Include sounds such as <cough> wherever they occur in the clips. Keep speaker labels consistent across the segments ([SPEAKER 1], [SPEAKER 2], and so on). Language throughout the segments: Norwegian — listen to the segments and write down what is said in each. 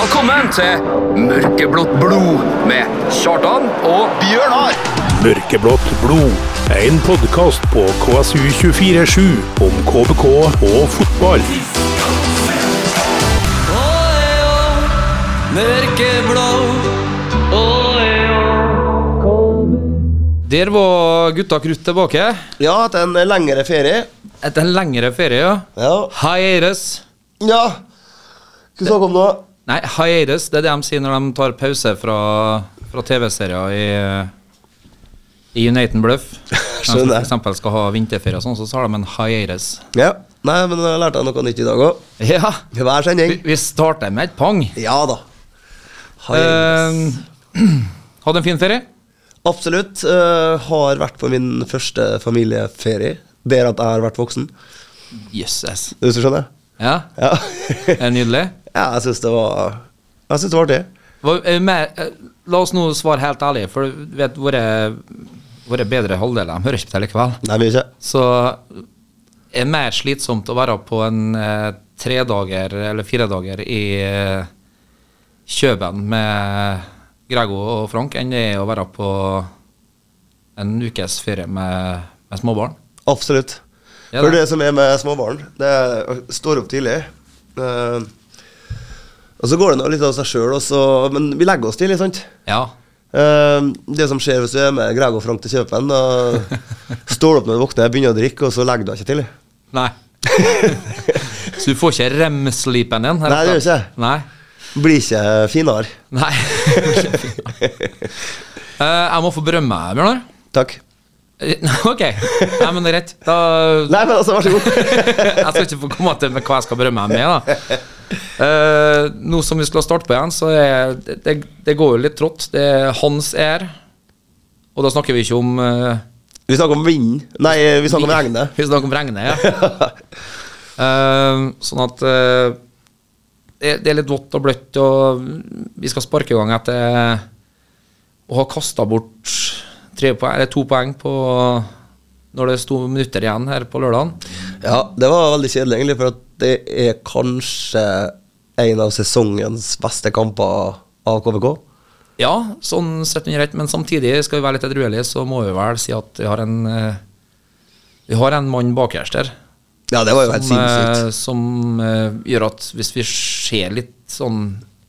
[SPEAKER 1] Velkommen til Mørkeblått blod med Kjartan og
[SPEAKER 2] Bjørnar!
[SPEAKER 3] Mørkeblått blod. En podkast på KSU247 om KBK og fotball.
[SPEAKER 4] Der var gutta krutt tilbake.
[SPEAKER 2] Ja, hatt en lengre ferie.
[SPEAKER 4] Etter en lengre ferie, ja.
[SPEAKER 2] Ja.
[SPEAKER 4] Hiatus.
[SPEAKER 2] ja. Skal vi snakke om noe?
[SPEAKER 4] Nei, hiatus det er det de sier når de tar pause fra, fra TV-serier i, i Uniten Bluff. Når de
[SPEAKER 2] Skjønner.
[SPEAKER 4] f.eks. skal ha vinterferie, og sånn, så tar de en hiatus.
[SPEAKER 2] Ja. Nei, men jeg lærte jeg noe nytt i dag òg.
[SPEAKER 4] Ja,
[SPEAKER 2] Hver
[SPEAKER 4] vi,
[SPEAKER 2] sending.
[SPEAKER 4] vi starter med et pang.
[SPEAKER 2] Ja da. Hei.
[SPEAKER 4] Eh, <clears throat> hadde en fin ferie.
[SPEAKER 2] Absolutt. eh, har vært på min første familieferie. Der at jeg har vært voksen.
[SPEAKER 4] Jøsses.
[SPEAKER 2] Hvis du skjønner?
[SPEAKER 4] Ja,
[SPEAKER 2] Ja.
[SPEAKER 4] <laughs> det er nydelig.
[SPEAKER 2] ja jeg syns det var Jeg syns det var artig.
[SPEAKER 4] Hva- eh, mer- eh, La oss nå svare helt ærlig, for du vet våre, våre bedre halvdeler de hører ikke på likevel.
[SPEAKER 2] Nei, mye ikke.
[SPEAKER 4] Så er det mer slitsomt å være på en eh, tredager eller firedager i eh, Kjøben med Grego og Frank enn det er å være på en ukes ferie med, med småbarn.
[SPEAKER 2] Absolutt.
[SPEAKER 4] Ja
[SPEAKER 2] For
[SPEAKER 4] da.
[SPEAKER 2] det som er med småbarn, det er å står opp tidlig. eh, og så går det nå litt av seg sjøl, men vi legger oss tidlig, sant?
[SPEAKER 4] Ja.
[SPEAKER 2] Eh, det som skjer hvis du er med Greg og Frank til Kjøpen, da står du opp når du våkner, begynner å drikke, og så legger du deg ikke tidlig.
[SPEAKER 4] Nei. <laughs> Så du får ikke rem-sleepen din? rett og
[SPEAKER 2] Nei, det gjør
[SPEAKER 4] slett.
[SPEAKER 2] ikke jeg.
[SPEAKER 4] Nei.
[SPEAKER 2] Blir ikke finere.
[SPEAKER 4] Nei. <laughs> Eh, jeg må få berømme meg, Bjørnar.
[SPEAKER 2] Takk.
[SPEAKER 4] Eh, <laughs> Ok, Nei, men det er greit. Da
[SPEAKER 2] Nei, men altså, vær så god. <laughs>
[SPEAKER 4] jeg skal ikke få komme til med hva jeg skal berømme meg med. da Eh, Nå som vi skal starte på igjen, så er det, det, det går jo litt trått. Det er hans ære. Og da snakker vi ikke om eh,
[SPEAKER 2] Vi snakker om vinden. Nei, vi snakker om regnet.
[SPEAKER 4] Vi snakker om regnet, ja. Eh, sånn at eh, det, det er litt vått og bløtt, og vi skal sparke i gang etter å ha kasta bort tre poeng, eller to poeng på når det sto minutter igjen her på lørdagen.
[SPEAKER 2] Ja, det var veldig kjedelig, egentlig, for at det er kanskje en av sesongens beste kamper av KBK.
[SPEAKER 4] Ja, sånn sett under ett, men samtidig skal vi være litt edruelige, så må vi vel si at vi har en eh, Vi har en mann bakerst der
[SPEAKER 2] Ja, det var jo helt
[SPEAKER 4] som, eh,
[SPEAKER 2] sinnssykt.
[SPEAKER 4] som eh, gjør at hvis vi ser litt sånn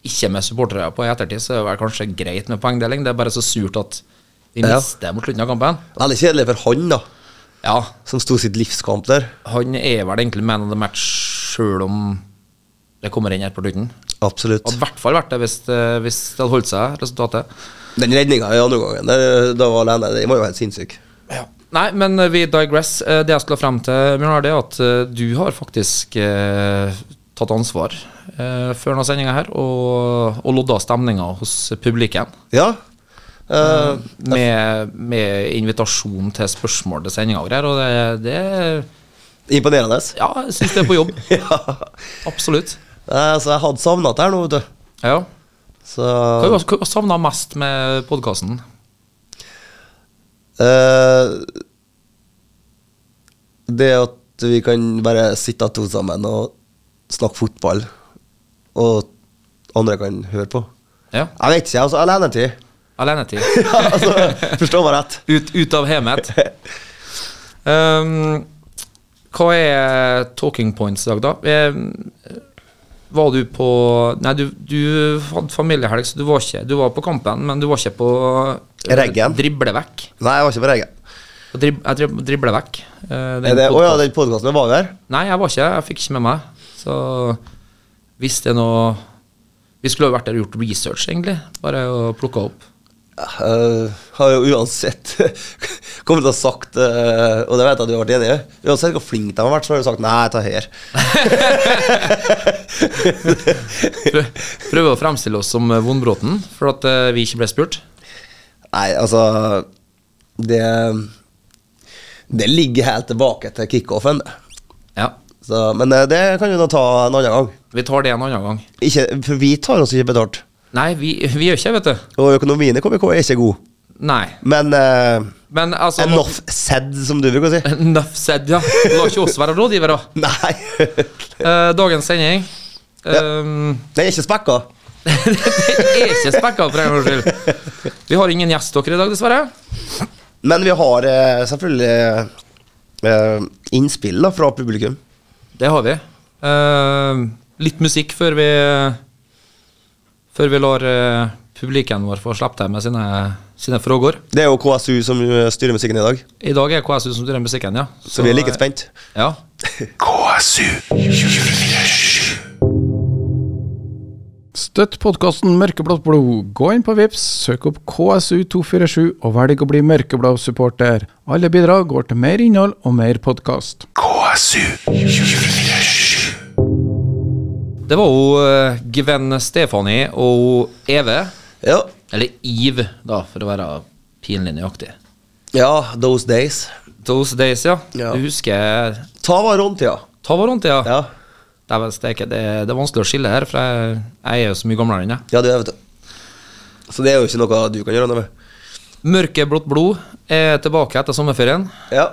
[SPEAKER 4] ikke med supportere på i ettertid, så er det vel kanskje greit med poengdeling. Det er bare så surt at vi
[SPEAKER 2] Ja.
[SPEAKER 4] mister mot slutten av kampen.
[SPEAKER 2] Veldig kjedelig for han, da,
[SPEAKER 4] Ja,
[SPEAKER 2] som sto sitt livskamp der.
[SPEAKER 4] han er vel egentlig man of the match sjøl om det kommer inn her på slutten.
[SPEAKER 2] Absolutt.
[SPEAKER 4] Hadde i hvert fall vært det hvis, eh, hvis det hadde holdt seg, resultatet.
[SPEAKER 2] Den redninga i andre gangen, der, da var alene, den var jo helt sinnssyk.
[SPEAKER 4] Nei, men eh, vi digress. Eh, Det jeg skulle frem til, Bjørnar, det er at eh, du har faktisk eh, tatt ansvar eh, før denne sendinga her, og, og lodda stemninga hos publikum
[SPEAKER 2] Ja. Eh,
[SPEAKER 4] med, med invitasjon til spørsmål til sendinga og greier, og det, det
[SPEAKER 2] imponerende.
[SPEAKER 4] Ja, jeg syns det er på jobb.
[SPEAKER 2] <laughs> ja.
[SPEAKER 4] Absolutt.
[SPEAKER 2] Nei, altså, jeg hadde savna det her nå, vet du.
[SPEAKER 4] Ja.
[SPEAKER 2] Så
[SPEAKER 4] Hva har du savna mest med podkasten?
[SPEAKER 2] eh, Det at vi kan bare sitte to sammen og snakke fotball, og andre kan høre på.
[SPEAKER 4] Ja.
[SPEAKER 2] Jeg vet ikke, jeg. Altså, alenetid.
[SPEAKER 4] Alenetid.
[SPEAKER 2] Ja, <laughs> altså, forstå meg rett.
[SPEAKER 4] Ut, ut av
[SPEAKER 2] <laughs>
[SPEAKER 4] hemmet. Um, hva er talking points i dag, da? Eh, Var du på Nei, du, du hadde familiehelg, så du var ikke Du var på kampen, men du var ikke på eh,
[SPEAKER 2] Reggen.
[SPEAKER 4] Drible vekk.
[SPEAKER 2] Nei, jeg var ikke på regelen.
[SPEAKER 4] På drib, jeg drib, dribler vekk. eh, den
[SPEAKER 2] Er det- Å ja,
[SPEAKER 4] podcasten.
[SPEAKER 2] den podkasten var jo her.
[SPEAKER 4] Nei, jeg var ikke Jeg fikk ikke med meg. Så hvis det er noe Vi skulle jo vært der og gjort research, egentlig. Bare og plukka opp.
[SPEAKER 2] Jeg eh, har jo uansett <laughs> kommet til å ha sagt, eh, og det vet jeg at du har vært enig i, uansett hvor flink de har vært, så har du sagt nei, ta her.
[SPEAKER 4] Prø- Prøve å fremstille oss som eh, Vondbråten for at eh, vi ikke ble spurt.
[SPEAKER 2] Nei, altså Det Det ligger helt tilbake til kickoffen. det.
[SPEAKER 4] Ja.
[SPEAKER 2] Så, men eh, det kan vi nå ta en annen gang.
[SPEAKER 4] Vi tar det en annen gang.
[SPEAKER 2] Ikke, for vi tar oss ikke betalt.
[SPEAKER 4] Nei, vi, vi gjør ikke det, vet du.
[SPEAKER 2] Og økonomien i KBK er ikke god.
[SPEAKER 4] Nei.
[SPEAKER 2] Men eh,
[SPEAKER 4] Men altså <laughs>
[SPEAKER 2] enough said, som du bruker å <laughs> si.
[SPEAKER 4] Enough said, ja. La ikke oss være
[SPEAKER 2] <laughs>
[SPEAKER 4] rådgivere.
[SPEAKER 2] Nei.
[SPEAKER 4] Eh, dagens sending. Eh,
[SPEAKER 2] Den er ikke spekka.
[SPEAKER 4] <laughs> Det er ikke spekka, for en gangs
[SPEAKER 2] <laughs>
[SPEAKER 4] skyld. Vi har ingen gjest dere i dag, dessverre.
[SPEAKER 2] Men vi har eh, selvfølgelig eh, innspill da, fra publikum.
[SPEAKER 4] Det har vi. Eh, litt musikk før vi Før vi lar eh, publikum vår få slippe til med sine, sine frågor.
[SPEAKER 2] Det er jo KSU som eh, styrer musikken i dag,
[SPEAKER 4] I dag er KSU som styrer musikken, ja.
[SPEAKER 2] så eh, vi er like spent.
[SPEAKER 4] Ja.
[SPEAKER 5] Støtt podkasten Mørkeblått blod. Gå inn på Vips, søk opp KSU247 og velg å bli mørkeblå supporter. Alle bidrag går til mer innhold og mer podkast.
[SPEAKER 4] Det var jo eh, Gwen Stefani og Eve.
[SPEAKER 2] Ja.
[SPEAKER 4] Eller Eve, da, for å være pinlig nøyaktig.
[SPEAKER 2] ja, those days.
[SPEAKER 4] Those days, ja.
[SPEAKER 2] Ja.
[SPEAKER 4] Du husker
[SPEAKER 2] Ta var rundtida.
[SPEAKER 4] Ta var rundt, ja.
[SPEAKER 2] Ja.
[SPEAKER 4] Dæven steike, det, det er vanskelig å skille her, for jeg, jeg er jo så mye gamlere enn deg.
[SPEAKER 2] ja, det vet du. Så det er jo ikke noe du kan gjøre noe med.
[SPEAKER 4] Mørkeblått blod er tilbake etter sommerferien.
[SPEAKER 2] Ja.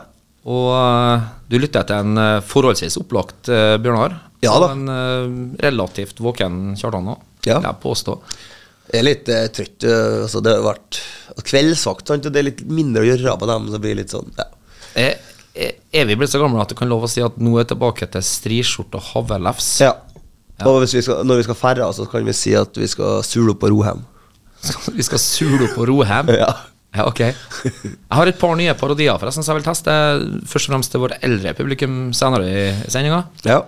[SPEAKER 4] Og eh, du lytter til en eh, forholdsvis opplagt eh, Bjørnar.
[SPEAKER 2] Ja da.
[SPEAKER 4] Og en eh, relativt våken Kjartan òg,
[SPEAKER 2] Ja.
[SPEAKER 4] vil jeg påstå.
[SPEAKER 2] Jeg er litt eh, trøtt. eh, Altså, det har vært kveldsvakt, sant? og det er litt mindre å gjøre på dem. Så blir det litt sånn, ja.
[SPEAKER 4] Er, er Eh, er vi blitt så gamle at du kan love å si at nå er jeg tilbake til striskjorte og havrelefs?
[SPEAKER 2] Ja. Og hvis vi skal, når vi skal færre, så kan vi si at vi skal sule opp og ro hjem.
[SPEAKER 4] Skal- <laughs> Vi skal sule opp og ro hjem?
[SPEAKER 2] <laughs> Ja.
[SPEAKER 4] Ja, ok. Jeg har et par nye parodier forresten, som jeg vil teste. Først og fremst til vårt eldre publikum senere i i sendinga.
[SPEAKER 2] Ja.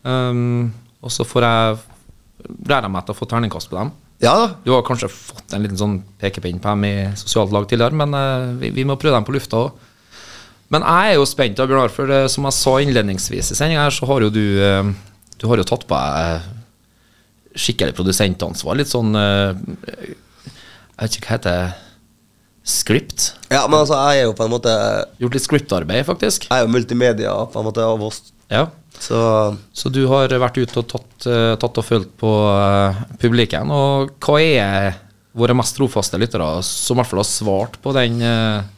[SPEAKER 4] Um, og så får jeg regner jeg med at jeg får terningkast på dem.
[SPEAKER 2] Ja da.
[SPEAKER 4] Du har kanskje fått en liten sånn pekepinn på dem i sosialt lag tidligere, men eh, vi, vi må prøve dem på lufta òg. Men jeg er jo spent, da, Bjørnar, for eh, som jeg sa innledningsvis i sendinga her, så har jo du eh, Du har jo tatt på deg eh, skikkelig produsentansvar. Litt sånn eh, Jeg vet ikke hva heter det? Script?
[SPEAKER 2] Ja, men altså, jeg er jo på en måte
[SPEAKER 4] Gjort litt scriptarbeid, faktisk.
[SPEAKER 2] Jeg er jo multimedia på en måte av oss,
[SPEAKER 4] Ja.
[SPEAKER 2] så
[SPEAKER 4] Så du har vært ute og tatt, eh, tatt og følt på eh, publikum. Og hva er våre mest trofaste lyttere som i hvert fall har svart på den, eh,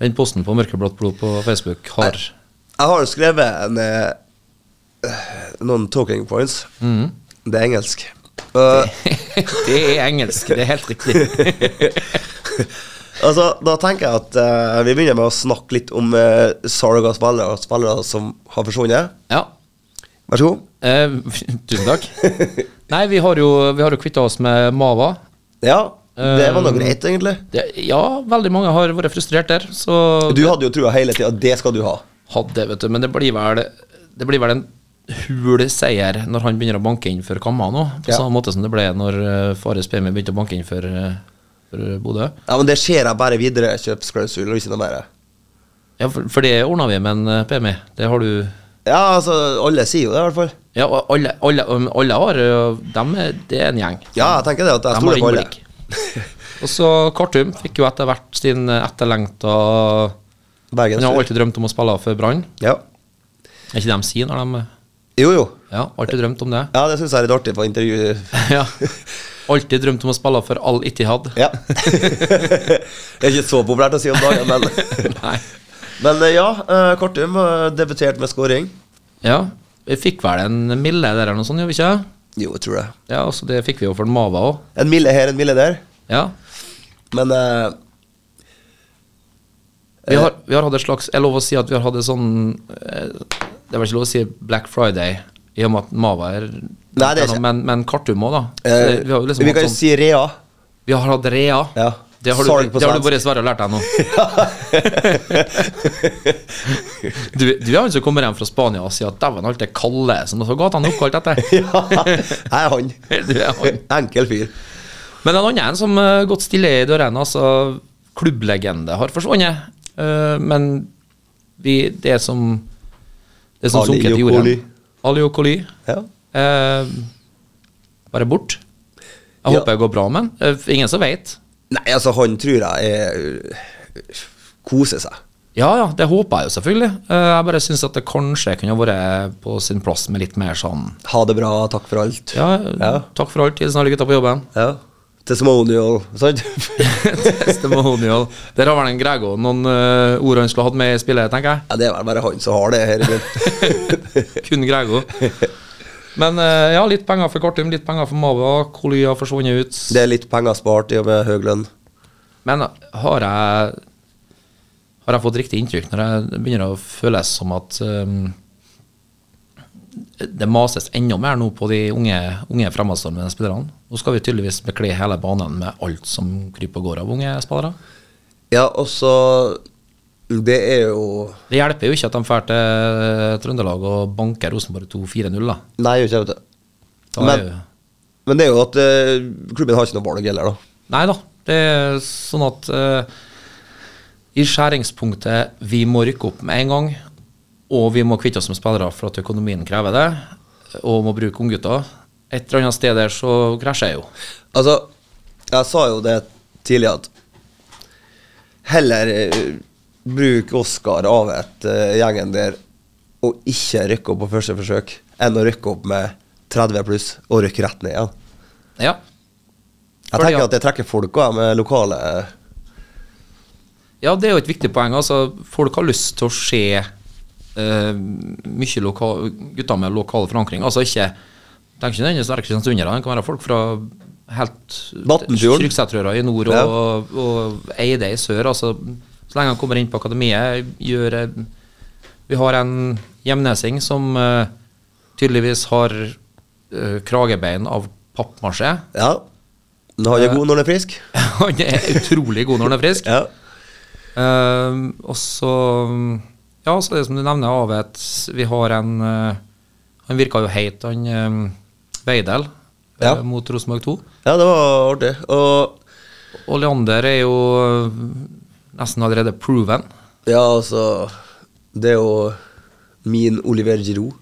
[SPEAKER 4] den posten på Mørkeblått blod på Facebook? Har
[SPEAKER 2] Jeg har jo skrevet en, eh, noen talking points. Det er engelsk. Uh,
[SPEAKER 4] <laughs> Det er engelsk, det er helt riktig.
[SPEAKER 2] altså, da tenker jeg at eh, vi begynner med å snakke litt om uh, Sarga spillere og spillere som har forsvunnet.
[SPEAKER 4] Ja.
[SPEAKER 2] Vær så god.
[SPEAKER 4] Eh, tusen takk. Nei, vi har jo, vi har jo kvitta oss med Mava.
[SPEAKER 2] Ja, det var
[SPEAKER 4] Eh,
[SPEAKER 2] noe greit, egentlig.
[SPEAKER 4] Det, ja, veldig mange har vært frustrert der. Så
[SPEAKER 2] Du hadde jo trua hele tida. Det skal du ha.
[SPEAKER 4] hadde, vet du. Men det blir vel, det blir vel en hul seier når han begynner å banke inn for Kamma nå. På
[SPEAKER 2] Ja.
[SPEAKER 4] samme måte som det ble når eh, Fares Pemi begynte å banke inn for, eh, for Bodø.
[SPEAKER 2] Ja, men det ser jeg bare videre kjøpsklausul og ikke noe mer.
[SPEAKER 4] Ja, for, for det ordna vi med en eh, Pemi. Det har du
[SPEAKER 2] Ja, altså, alle sier jo det, i hvert fall.
[SPEAKER 4] Ja, og alle, alle, um, alle har eh, dem er, Det er en gjeng.
[SPEAKER 2] Ja, jeg tenker det at jeg
[SPEAKER 4] Dem har
[SPEAKER 2] stoler på alle.
[SPEAKER 4] innblikk. <laughs> Og så Khartoum fikk jo etter hvert sin eh, etterlengta Han
[SPEAKER 2] Bergens
[SPEAKER 4] har
[SPEAKER 2] Fri.
[SPEAKER 4] alltid drømt om å spille for Brann.
[SPEAKER 2] Ja.
[SPEAKER 4] Er ikke det de sier når de
[SPEAKER 2] Jo, jo.
[SPEAKER 4] Ja, alltid drømt om det. <laughs>
[SPEAKER 2] Ja, det syns jeg er litt artig på intervju. <laughs>
[SPEAKER 4] Ja. Alltid drømt om å spille for Al Ittihad. <laughs>
[SPEAKER 2] Ja. det er ikke så populært å si om dagen, men <laughs>
[SPEAKER 4] Nei.
[SPEAKER 2] Men eh, ja, eh, Kortum eh, debuterte med scoring.
[SPEAKER 4] Ja, vi fikk vel en mille der eller noe sånt, gjorde vi ikke?
[SPEAKER 2] Jo, jeg tror det.
[SPEAKER 4] Ja, altså det fikk vi jo for den Mava òg.
[SPEAKER 2] En mille her, en mille der.
[SPEAKER 4] Ja.
[SPEAKER 2] Men eh,
[SPEAKER 4] Vi har, vi har hatt et slags Jeg lov å si at vi har hatt et sånn eh, Det er vel ikke lov å si Black Friday, i og med at Mava er
[SPEAKER 2] Nei, det er ikke-
[SPEAKER 4] Men, men Kartum òg, da. Så
[SPEAKER 2] eh,
[SPEAKER 4] det- vi har jo liksom
[SPEAKER 2] vi
[SPEAKER 4] hatt
[SPEAKER 2] kan jo
[SPEAKER 4] sånn
[SPEAKER 2] si
[SPEAKER 4] <laughs>
[SPEAKER 2] Rea.
[SPEAKER 4] Vi har hatt Rea.
[SPEAKER 2] Ja.
[SPEAKER 4] Det har,
[SPEAKER 2] Sorg
[SPEAKER 4] du,
[SPEAKER 2] på
[SPEAKER 4] det har du
[SPEAKER 2] svensk.
[SPEAKER 4] bare Sverre lært deg nå.
[SPEAKER 2] <laughs>
[SPEAKER 4] du, du er han som kommer hjem fra Spania og sier at 'dæven, alt det kalde som dere gata er oppkalt etter'.
[SPEAKER 2] <laughs>
[SPEAKER 4] <laughs>
[SPEAKER 2] Ja, jeg er han.
[SPEAKER 4] Du er han.
[SPEAKER 2] Enkel fyr.
[SPEAKER 4] Men en annen som uh, gått stille i dørene, altså klubblegende, har forsvunnet. Eh, men vi, det er som Det er som
[SPEAKER 2] Ali
[SPEAKER 4] sunket i jorden.
[SPEAKER 2] Okoli.
[SPEAKER 4] Ali Okoli.
[SPEAKER 2] Ja.
[SPEAKER 4] Eh, bare bort. Jeg
[SPEAKER 2] Ja.
[SPEAKER 4] håper det går bra med han. Eh, ingen som veit.
[SPEAKER 2] Nei, altså, han tror jeg er koser seg.
[SPEAKER 4] Ja, ja, det håper jeg jo selvfølgelig. Eh, jeg bare syns at det kanskje kunne vært på sin plass med litt mer sånn
[SPEAKER 2] Ha det bra, takk for alt.
[SPEAKER 4] Ja,
[SPEAKER 2] Ja.
[SPEAKER 4] takk for alt, hilsen alle gutta på jobben. <laughs>
[SPEAKER 2] Ja. Testimonial, <laughs> sant?
[SPEAKER 4] Testimonial. Der har vel en Grego noen eh, ord han skulle hatt med i spillet, tenker jeg.
[SPEAKER 2] ja, det er vel bare han som har det her i byen.
[SPEAKER 4] Kun Grego. Men eh, ja, litt penger for Kartum, litt penger for Mava. Koly har forsvunnet ut.
[SPEAKER 2] Det er litt penger spart i og med høy lønn.
[SPEAKER 4] Men har jeg Har jeg fått riktig inntrykk når jeg begynner å føles som at um, det mases enda mer nå på de unge, unge fremadstormende spillerne? Nå skal vi tydeligvis bekle hele banen med alt som kryper og går av unge spillere.
[SPEAKER 2] Ja, og så Det er jo
[SPEAKER 4] Det hjelper jo ikke at de drar til Trøndelag og banker Rosenborg 2-4-0. da.
[SPEAKER 2] Nei, jeg gjør ikke det.
[SPEAKER 4] Da er
[SPEAKER 2] Men-
[SPEAKER 4] jo-
[SPEAKER 2] Men det er jo at eh, klubben har ikke noe valg heller, da.
[SPEAKER 4] Nei da. Det er sånn at eh, i skjæringspunktet vi må rykke opp med en gang, og vi må kvitte oss med spillere for at økonomien krever det, og må bruke unggutter. Et eller annet sted der så krasjer jeg jo.
[SPEAKER 2] Altså, jeg sa jo det tidligere at heller eh, bruk Oskar av et eh, gjengen der og ikke rykke opp på første forsøk, enn å rykke opp med 30 pluss og rykke rett ned igjen.
[SPEAKER 4] Ja.
[SPEAKER 2] Jeg
[SPEAKER 4] Fordi
[SPEAKER 2] tenker
[SPEAKER 4] at-
[SPEAKER 2] at det trekker folk òg, med lokale eh,
[SPEAKER 4] ja, det er jo et viktig poeng. Altså, folk har lyst til å se eh, mye loka gutter med lokal forankring. Altså ikke Tenk ikke nødvendigvis være kristiansundere, det kan være folk fra helt
[SPEAKER 2] Vatnfjorden.
[SPEAKER 4] Trygsetrøra i nord og,
[SPEAKER 2] Ja.
[SPEAKER 4] og, Eide i sør. Altså, så lenge han kommer inn på akademiet, gjør eh, Vi har en hjemnesing som eh, tydeligvis har eh, kragebein av pappmasjé.
[SPEAKER 2] Ja. Men han er god når han er frisk.
[SPEAKER 4] <laughs> han er utrolig god når han er frisk.
[SPEAKER 2] Ja.
[SPEAKER 4] Ehm, og så Ja, så det som du nevner, Avet. Vi har en eh, Han virka jo heit, han um, Veidel, eh,
[SPEAKER 2] Ja.
[SPEAKER 4] mot Rosenborg 2.
[SPEAKER 2] ja, det var artig. Og
[SPEAKER 4] Og Leander er jo eh, nesten allerede proven.
[SPEAKER 2] ja, altså Det er jo min Oliver Giroud.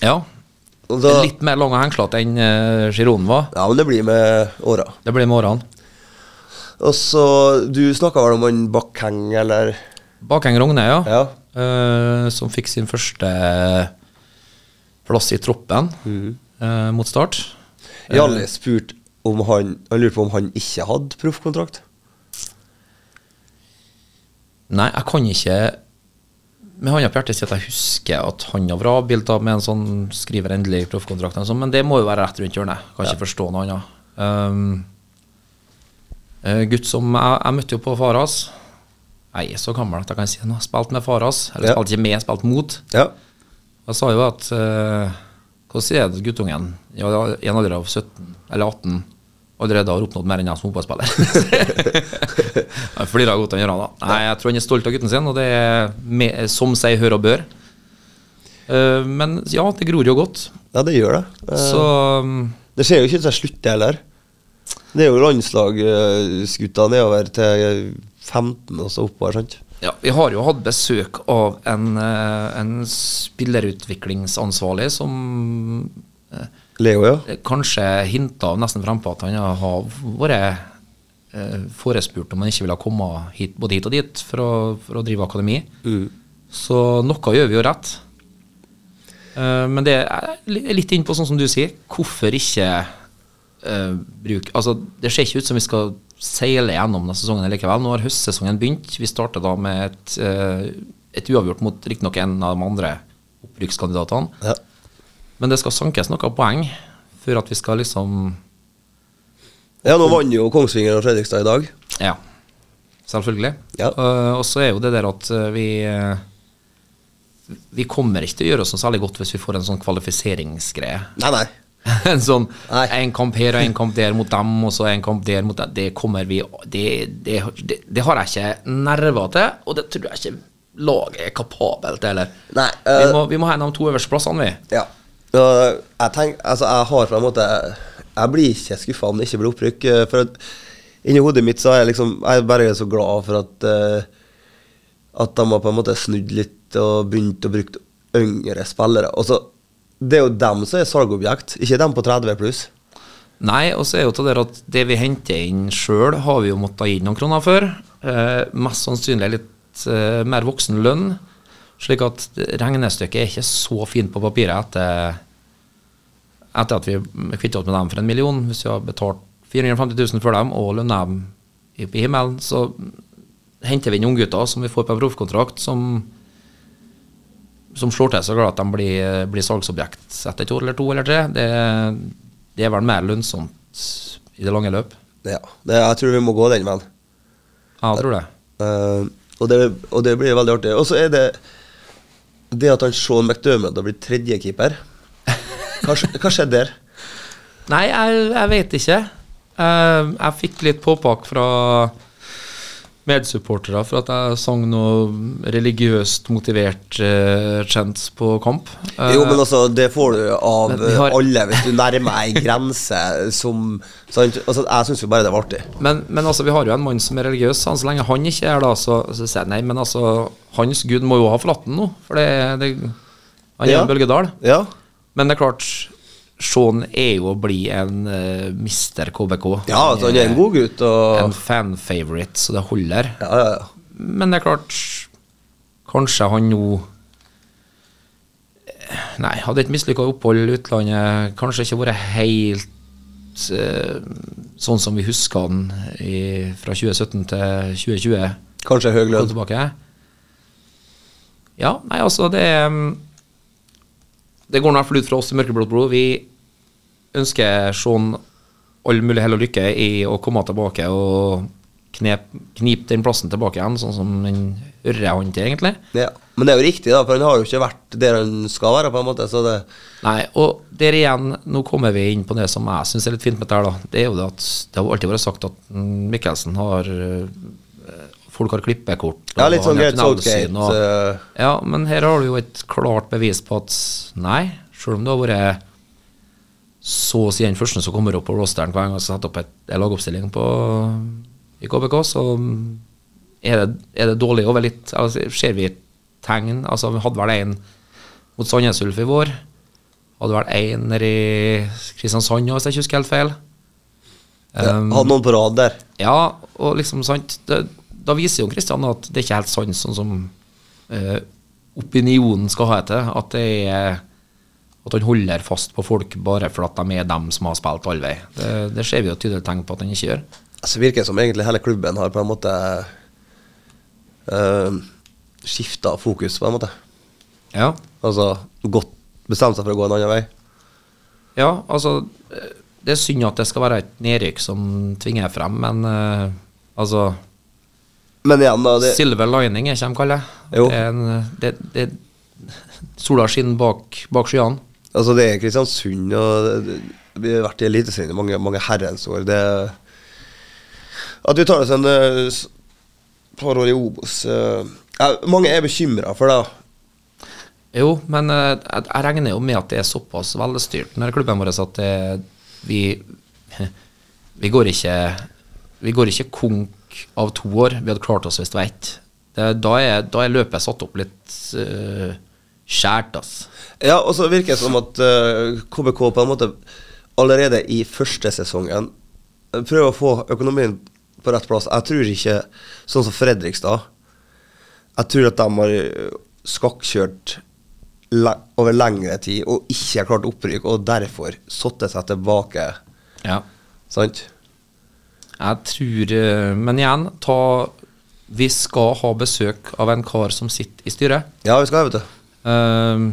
[SPEAKER 4] Ja.
[SPEAKER 2] Og da-
[SPEAKER 4] Litt mer lang og hengslete enn uh, Giron var.
[SPEAKER 2] Ja, men det blir med åra.
[SPEAKER 4] Det blir morgenen.
[SPEAKER 2] Og så, du snakka vel om han Bakkeng, eller?
[SPEAKER 4] Bakheng Rogne, ja.
[SPEAKER 2] Ja.
[SPEAKER 4] Eh, som fikk sin første eh, plass i troppen
[SPEAKER 2] Mhm.
[SPEAKER 4] eh, mot start.
[SPEAKER 2] Jalle spurte om han Han lurte på om han ikke hadde proffkontrakt.
[SPEAKER 4] Nei, jeg kan ikke med hånda på hjertet si at jeg husker at han har vravbilt av med en sånn skriver endelig proffkontrakt, eller noe sånt, men det må jo være rett rundt hjørnet. Kan ikke forstå noe annet. Ehm, eh, gutt som jeg, jeg møtte jo på far hans. Jeg er så gammel at jeg kan si han har spilt med far hans. Eller
[SPEAKER 2] Ja.
[SPEAKER 4] spilt ikke med, spilt mot.
[SPEAKER 2] Ja.
[SPEAKER 4] Jeg sa jo at eh, Hvordan er det guttungen ja, ja, i en alder av 17 eller 18 allerede har oppnådd mer enn jeg som fotballspiller? Han flirer godt han gjør det. da. Nei, jeg tror han er stolt av gutten sin, og det er me- som seg hør og bør. Eh, men ja, det gror jo godt.
[SPEAKER 2] ja, det gjør det. Eh,
[SPEAKER 4] Så um,
[SPEAKER 2] Det ser jo ikke ut til å slutte heller. Det er jo landslagsgutta nedover til 15 og så oppover, sant?
[SPEAKER 4] ja, vi har jo hatt besøk av en, eh, en spillerutviklingsansvarlig som eh,
[SPEAKER 2] Leo, ja.
[SPEAKER 4] kanskje hinta nesten frempå at han har vært eh, forespurt om han ikke ville komme hit, både hit og dit for å, for å drive akademi. Så noe gjør vi jo rett. Eh, men det er li- litt innpå sånn som du sier. Hvorfor ikke eh, bruke Altså, det ser ikke ut som vi skal seile gjennom denne sesongen likevel. Nå har høstsesongen begynt. Vi starter da med et, eh, et uavgjort mot riktignok en av de andre opprykkskandidatene.
[SPEAKER 2] ja.
[SPEAKER 4] Men det skal sankes noen poeng før at vi skal liksom
[SPEAKER 2] Ja, nå vant jo Kongsvinger og Fredrikstad i dag.
[SPEAKER 4] Ja, selvfølgelig.
[SPEAKER 2] Ja.
[SPEAKER 4] Eh, og så er jo det der at eh, vi eh, Vi kommer ikke til å gjøre oss noe særlig godt hvis vi får en sånn kvalifiseringsgreie. <laughs>
[SPEAKER 2] Nei, nei.
[SPEAKER 4] en sånn
[SPEAKER 2] Nei.
[SPEAKER 4] en kamp her og en kamp der mot dem, og så en kamp der mot dem. Det kommer vi Det, det, det, det har jeg ikke nerver til, og det tror jeg ikke laget er kapabelt til heller.
[SPEAKER 2] Nei,
[SPEAKER 4] vi,
[SPEAKER 2] eh,
[SPEAKER 4] må, vi må ha en av de to øverste plassene, vi.
[SPEAKER 2] Ja. Og jeg tenker, altså jeg har på en måte Jeg blir ikke skuffa om det ikke blir opprykk. eh, For at inni hodet mitt så er jeg liksom Jeg er bare så glad for at eh, At de har på en måte snudd litt og begynt å bruke yngre spillere. Og så Det er jo dem som er salgobjekt, ikke dem på 30 pluss.
[SPEAKER 4] Nei, og så er jo til det at det vi henter inn sjøl, har vi jo måttet gi noen kroner for. Eh, mest sannsynlig litt eh, mer voksen lønn. Slik at regnestykket er ikke så fint på papiret etter, etter at vi kvittet oss med dem for en million. Hvis vi har betalt 450 000 for dem og lønner dem i i himmelen, så henter vi inn unggutter som vi får på en proffkontrakt, som som slår til så glad at de blir, blir salgsobjekt etter et år eller to eller tre. Det, det er vel mer lønnsomt i det lange løp.
[SPEAKER 2] Ja, det, jeg tror vi må gå den veien.
[SPEAKER 4] Ja, Jeg tror det.
[SPEAKER 2] Eh, og, det, og det blir veldig artig. Og så er det det at han Sean McDermott har blitt tredjekeeper. Hva, sk- hva skjedde der?
[SPEAKER 4] Nei, jeg, jeg vet ikke. Eh, jeg fikk litt påpakk fra medsupportere for at jeg sang noe religiøst motivert uh, chants på kamp. Eh,
[SPEAKER 2] Jo, men altså, det får du av
[SPEAKER 4] men vi har-
[SPEAKER 2] alle hvis du nærmer ei grense som sant? altså, Jeg syns jo bare det var artig.
[SPEAKER 4] men, men altså, vi har jo en mann som er religiøs. Han, så lenge han ikke er da, så, så sier jeg nei, men altså, hans gud må jo ha forlatt den nå. For det, det, han er
[SPEAKER 2] Ja.
[SPEAKER 4] en bølgedal.
[SPEAKER 2] Ja,
[SPEAKER 4] Men det er klart, Sean er jo å bli en uh, mister KBK.
[SPEAKER 2] ja altså, han er en god gutt,
[SPEAKER 4] En
[SPEAKER 2] og
[SPEAKER 4] fan-favorite, så det holder.
[SPEAKER 2] Ja, ja, ja.
[SPEAKER 4] Men det er klart Kanskje han nå eh, Nei, hadde et mislykka opphold i utlandet. Kanskje ikke vært helt eh, sånn som vi husker han i, fra 2017 til 2020.
[SPEAKER 2] Kanskje høy
[SPEAKER 4] Kom
[SPEAKER 2] lønn.
[SPEAKER 4] tilbake. Ja, nei, altså, det mm, Det går i hvert fall ut fra oss i Mørkeblått blod. Vi ønsker Sean all mulig hell og lykke i å komme tilbake og knep, knipe den plassen tilbake igjen, sånn som den hører han til, egentlig.
[SPEAKER 2] Ja. Men det er jo riktig, da, for han har jo ikke vært der han skal være, på en måte. Så det
[SPEAKER 4] Nei, og der igjen, nå kommer vi inn på det som jeg syns er litt fint med dette her, da. Det er jo det at det har jo alltid vært sagt at mm, Mikkelsen har eh, Folk har klippekort. og
[SPEAKER 2] Ja, litt sånn
[SPEAKER 4] han har
[SPEAKER 2] Gareth Southgate.
[SPEAKER 4] tunnelsyn, og-
[SPEAKER 2] eh,
[SPEAKER 4] Ja, men her har du jo et klart bevis på at nei, selv om det har vært så å si den første som kommer opp på rosteren hver gang jeg har satt opp et, en lagoppstilling på, i KBK, så er det, er det dårlig over litt. Altså, ser vi tegn altså, Vi hadde vel en mot Sandnes Ulf i vår. Hadde vel en nede i Kristiansand òg, hvis jeg ikke husker helt feil.
[SPEAKER 2] ja,
[SPEAKER 4] Um,
[SPEAKER 2] Hadde noen på rad der.
[SPEAKER 4] Ja, og liksom sant det, Da viser jo Kristian at det er ikke helt sant sånn som eh, opinionen skal ha etter. At det er at han holder fast på folk bare for at de er dem som har spilt all vei. Det, det ser vi jo tydelige tegn på at han ikke gjør.
[SPEAKER 2] Altså, det virker som egentlig hele klubben har på en måte uh, skifta fokus, på en måte.
[SPEAKER 4] Ja,
[SPEAKER 2] Altså godt bestemt seg for å gå en annen vei.
[SPEAKER 4] ja altså eh, Det er synd at det skal være et nedrykk som tvinger frem, men eh, altså
[SPEAKER 2] Men igjen, da det,
[SPEAKER 4] Silver lining er ikke de kaller det.
[SPEAKER 2] Jo.
[SPEAKER 4] det. er en- eh, Det, det, sola skinner bak, bak skyene.
[SPEAKER 2] altså, det er Kristiansund, og det, det, vi har vært i Eliteserien i mange, mange herrens år. Det, at vi tar oss en eh, s- par år i Obos eh, ja, Mange er bekymra for det.
[SPEAKER 4] Jo, men eh, jeg jeg regner jo med at det er såpass velstyrt når klubben vår at det, vi, <laughs> vi går ikke Vi går ikke konk av to år. Vi hadde klart oss hvis det var ett. Det- Da, er- da er løpet satt opp litt uh, skjært, ass.
[SPEAKER 2] Ja, og så virker det som at eh, KBK på en måte allerede i første sesongen eh, prøver å få økonomien på rett plass. Jeg tror ikke, sånn som Fredrikstad Jeg tror at de har eh, skakkjørt le over lengre tid og ikke har klart opprykk, og derfor satte seg tilbake.
[SPEAKER 4] Ja.
[SPEAKER 2] Sant?
[SPEAKER 4] Jeg tror eh, Men igjen, ta Vi skal ha besøk av en kar som sitter i styret.
[SPEAKER 2] Ja, vi skal, vet du.
[SPEAKER 4] Ehm,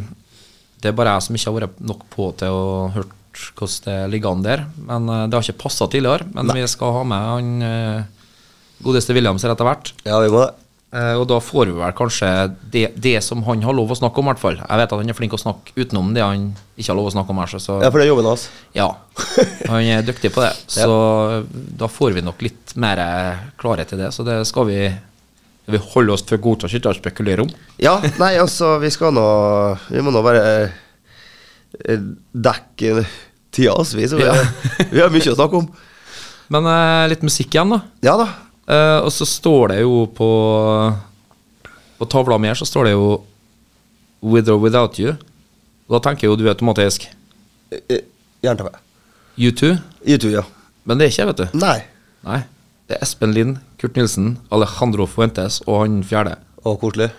[SPEAKER 4] det er bare jeg som ikke har vært nok på til å hørt hvordan det ligger an der. Men eh, Det har ikke passa tidligere, men vi skal ha med han eh, godeste Williams her etter hvert.
[SPEAKER 2] Ja, vi må det.
[SPEAKER 4] Eh, og da får vi vel kanskje det, det som han har lov å snakke om, i hvert fall. Jeg vet at han er flink å snakke utenom det han ikke har lov å snakke om her, så- så
[SPEAKER 2] Ja, for det er jobben hans.
[SPEAKER 4] ja. Han er dyktig på det. Så eh, da får vi nok litt mer eh, klarhet i det. Så det skal vi Vi holder oss for gode til å sitte og spekulere om.
[SPEAKER 2] Ja, nei, altså, vi skal nå Vi må nå bare eh, dekke tida oss, vi. Så vi,
[SPEAKER 4] Ja.
[SPEAKER 2] vi har mye å snakke om.
[SPEAKER 4] Men eh, litt musikk igjen, da.
[SPEAKER 2] Ja da.
[SPEAKER 4] Eh, og så står det jo på På tavla mi her så står det jo 'With or without you'. Og da tenker jo du automatisk
[SPEAKER 2] Eh, Jernteppe.
[SPEAKER 4] U2,
[SPEAKER 2] YouTube, ja.
[SPEAKER 4] men det er ikke jeg, vet du.
[SPEAKER 2] Nei.
[SPEAKER 4] Nei. Det er Espen Lind, Kurt Nilsen, Alejandro Fuentes og han fjerde.
[SPEAKER 2] Å, koselig.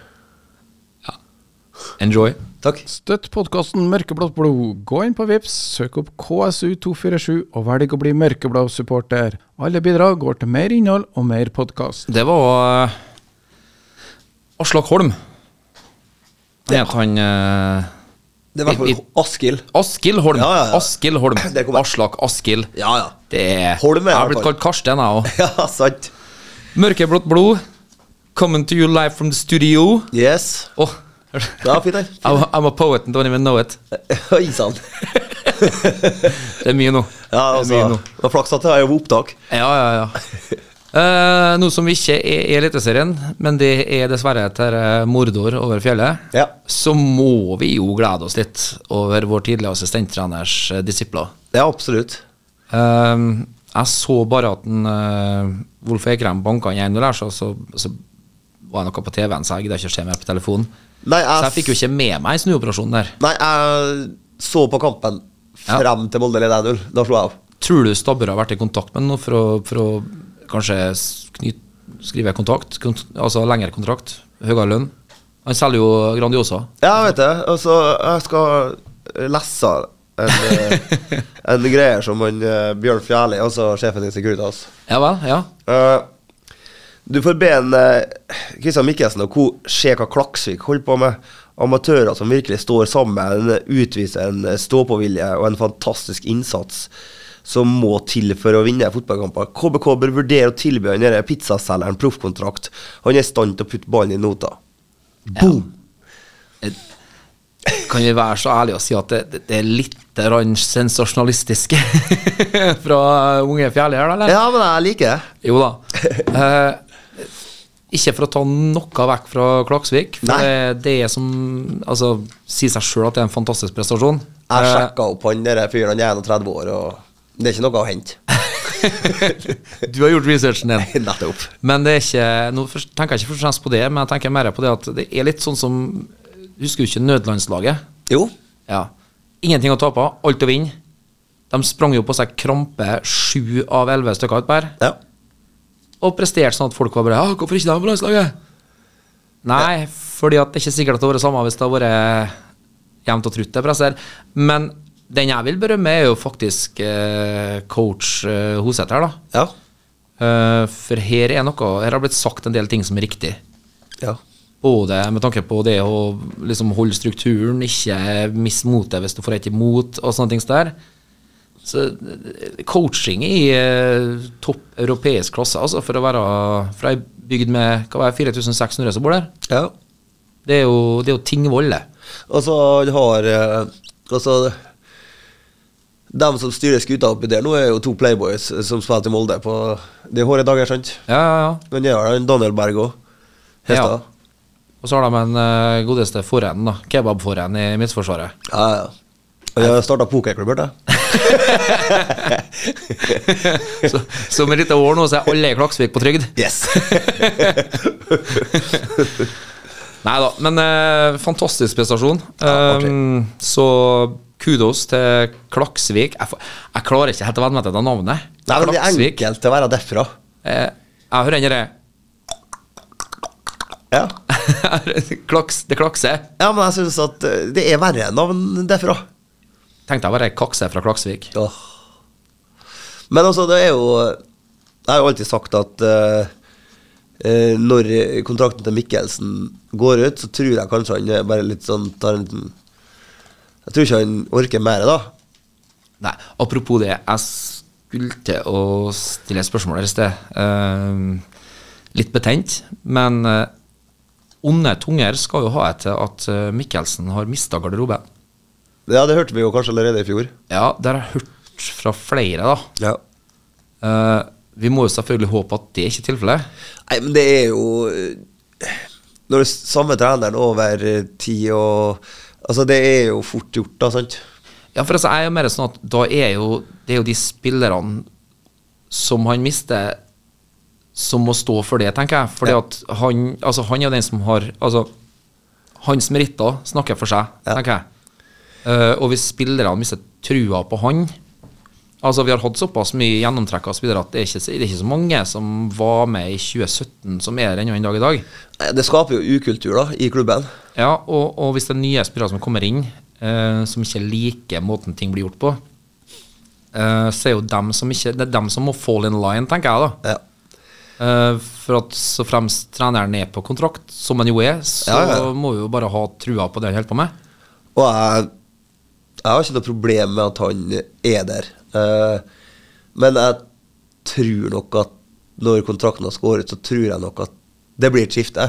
[SPEAKER 4] Enjoy.
[SPEAKER 2] Takk.
[SPEAKER 5] Støtt podkasten Mørkeblått blod. Gå inn på Vips, søk opp KSU247 og velg å bli mørkeblå-supporter. Alle bidrag går til mer innhold og mer podkast.
[SPEAKER 4] Det var eh, Aslak Holm. Han het han eh,
[SPEAKER 2] Det er i hvert
[SPEAKER 4] I- i-
[SPEAKER 2] fall Askild.
[SPEAKER 4] Askild Holm.
[SPEAKER 2] Ja, ja, ja.
[SPEAKER 4] Askild Holm.
[SPEAKER 2] Der kom jeg.
[SPEAKER 4] Aslak Askild.
[SPEAKER 2] Ja, ja.
[SPEAKER 4] Det er
[SPEAKER 2] Holm er
[SPEAKER 4] Jeg
[SPEAKER 2] i
[SPEAKER 4] har
[SPEAKER 2] hvert
[SPEAKER 4] blitt
[SPEAKER 2] fall.
[SPEAKER 4] kalt Karsten, jeg òg.
[SPEAKER 2] <laughs> Ja, sant.
[SPEAKER 4] Mørkeblått blod. Coming to you live from the studio.
[SPEAKER 2] Yes.
[SPEAKER 4] Åh,
[SPEAKER 2] Det var fint, det.
[SPEAKER 4] I'm, I'm a poet and don't even know it.
[SPEAKER 2] <laughs> Oi sann.
[SPEAKER 4] Det er mye nå.
[SPEAKER 2] Ja,
[SPEAKER 4] Det er mye
[SPEAKER 2] altså.
[SPEAKER 4] nå.
[SPEAKER 2] Det var flaks at det er jo opptak.
[SPEAKER 4] Ja, ja, ja. Eh, noe som ikke er er Eliteserien, men det er dessverre etter eh, mordor over fjellet,
[SPEAKER 2] Ja.
[SPEAKER 4] så må vi jo glede oss litt over vår tidligere assistenttreners eh, disipler.
[SPEAKER 2] Ja, absolutt.
[SPEAKER 4] Eh, jeg så bare at den, eh, Wolf Ekrem banka han gjennom der, så, så, så var det noe på TV-en, så jeg gidda ikke å se mer på telefonen.
[SPEAKER 2] Nei,
[SPEAKER 4] Så
[SPEAKER 2] jeg,
[SPEAKER 4] jeg fikk jo ikke med meg snuoperasjonen der.
[SPEAKER 2] Nei, jeg så på kampen
[SPEAKER 4] Ja.
[SPEAKER 2] frem til Molde leder 1-0. Da slo jeg av.
[SPEAKER 4] Tror du Stabber har vært i kontakt med ham for, å- for å kanskje s- knyt, skrive kontakt? Kont altså lengre kontrakt? Høyere lønn? Han selger jo Grandiosa.
[SPEAKER 2] Ja, jeg vet det. Altså, jeg skal lese en, eh, en greie som han eh, Bjørn Fjærli, altså sjefen i Securitas
[SPEAKER 4] Ja vel? Ja.
[SPEAKER 2] Eh, Du får be en eh, Christian Mikkelsen og co. se hva Klaksvik holder på med. Amatører som virkelig står sammen, utviser en eh, stå-på-vilje og en fantastisk innsats som må til for å vinne fotballkamper. KBK bør vurdere å tilby han denne pizzaselgeren proffkontrakt. Han er i stand til å putte ballen i nota. Boom!
[SPEAKER 4] Kan vi være så ærlige og si at det, det, det er litt rann sensasjonalistisk <laughs> fra unge Fjærli her, da? Eller?
[SPEAKER 2] Ja, men jeg liker det.
[SPEAKER 4] Jo da. Eh, ikke for å ta noe vekk fra Klaksvik. For
[SPEAKER 2] Nei.
[SPEAKER 4] det, det er som Altså, sier seg sjøl at det er en fantastisk prestasjon.
[SPEAKER 2] Jeg
[SPEAKER 4] Eh, <laughs>
[SPEAKER 2] sjekka opp han denne fyren, han er 31 år, og det er ikke noe å hente.
[SPEAKER 4] du har gjort researchen din.
[SPEAKER 2] Nettopp.
[SPEAKER 4] Men det er ikke Nå først- tenker jeg ikke først og fremst på det, men jeg tenker mer på det at det er litt sånn som Husker du ikke nødlandslaget?
[SPEAKER 2] Jo.
[SPEAKER 4] Ja. Ingenting å tape, alt å vinne. De sprang jo på seg krampe sju av elleve stykker utpå her,
[SPEAKER 2] Ja.
[SPEAKER 4] og presterte sånn at folk var bare Ja, hvorfor ikke de på landslaget? Nei, fordi at det er ikke sikkert at det hadde vært samme hvis det hadde vært jevnt og trutt. det presset her. Men den jeg vil berømme, er jo faktisk eh, coach eh, Hoseth her, da.
[SPEAKER 2] Ja.
[SPEAKER 4] Eh, for her er noe Her har blitt sagt en del ting som er riktig.
[SPEAKER 2] ja.
[SPEAKER 4] Både med tanke på det å liksom holde strukturen, ikke miste motet hvis du får et imot, og sånne ting som der. Så eh, coaching i eh, topp europeisk klasse, altså, for å være fra ei bygd med hva var det, 4600 som bor der,
[SPEAKER 2] ja.
[SPEAKER 4] det er jo, det er jo Tingvoll, det.
[SPEAKER 2] Og så han har eh, Altså Dem som styrer skuta oppi der nå, er jo to playboys eh, som spiller til Molde på de hårde dager, sant?
[SPEAKER 4] Ja, ja, ja.
[SPEAKER 2] Men det har han Daniel Berg òg.
[SPEAKER 4] Ja.
[SPEAKER 2] Hestad.
[SPEAKER 4] Og så har de en eh, godeste forhen, da. Kebabforhen i Midtforsvaret.
[SPEAKER 2] Ja, ja. Og jeg har starta pokerklubb, hørte jeg.
[SPEAKER 4] Så, så med litt år nå, så er alle i Klaksvik på trygd.
[SPEAKER 2] Yes.
[SPEAKER 4] Nei da, men eh, fantastisk prestasjon.
[SPEAKER 2] Ja, artig.
[SPEAKER 4] Um, så kudos til Klaksvik. Jeg, får- jeg klarer ikke helt å venne meg til det navnet.
[SPEAKER 2] <laughs> Nei, men det er
[SPEAKER 4] Klaksvik.
[SPEAKER 2] enkelt å være derfra.
[SPEAKER 4] Eh, jeg hører den derre
[SPEAKER 2] Ja.
[SPEAKER 4] <laughs> Klaks, Det klakser.
[SPEAKER 2] ja, men jeg syns at eh, det er verre navn derfra.
[SPEAKER 4] Tenkte jeg bare kakse fra Klaksvik.
[SPEAKER 2] Åh. Men altså, det er jo Jeg har jo alltid sagt at eh, eh, når kontrakten til Mikkelsen går ut, så tror jeg kanskje han er bare litt sånn tar en liten Jeg tror ikke han orker mer, da.
[SPEAKER 4] Nei, apropos det, jeg skulle til å stille et spørsmål her i sted. Ehm, litt betent, men eh, onde tunger skal jo ha etter at eh, Mikkelsen har mista garderoben.
[SPEAKER 2] Ja, det hørte vi jo kanskje allerede i fjor.
[SPEAKER 4] Ja, det har jeg hørt fra flere, da.
[SPEAKER 2] Ja.
[SPEAKER 4] Eh, vi må jo selvfølgelig håpe at det ikke er tilfellet.
[SPEAKER 2] Nei, men det er jo eh, Når det er samme treneren over eh, ti og Altså, det er jo fort gjort, da, sant?
[SPEAKER 4] Ja, for altså, jeg er jo mer sånn at da er jo det er jo de spillerne som han mister, som må stå for det, tenker jeg. Fordi
[SPEAKER 2] Ja.
[SPEAKER 4] at han altså han er jo den som har Altså, hans meritter snakker for seg,
[SPEAKER 2] Ja.
[SPEAKER 4] tenker jeg. Eh, og hvis spillerne mister trua på han Altså, Vi har hatt såpass mye gjennomtrekk av spillere at det er, ikke, det er ikke så mange som var med i 2017, som er der ennå en dag i dag.
[SPEAKER 2] Nei, Det skaper jo ukultur, da, i klubben.
[SPEAKER 4] Ja, og, og hvis det er nye spillere som kommer inn, eh, som ikke liker måten ting blir gjort på, eh, så er jo dem som ikke, det er dem som må fall in line, tenker jeg da.
[SPEAKER 2] Ja.
[SPEAKER 4] Eh, for at så fremst treneren er på kontrakt, som han jo er, så
[SPEAKER 2] Ja, ja.
[SPEAKER 4] må vi jo bare ha trua på det han holder på med.
[SPEAKER 2] Og jeg, jeg har ikke noe problem med at han er der. Eh, men jeg tror nok at når kontrakten hans går ut, så tror jeg nok at det blir et skifte.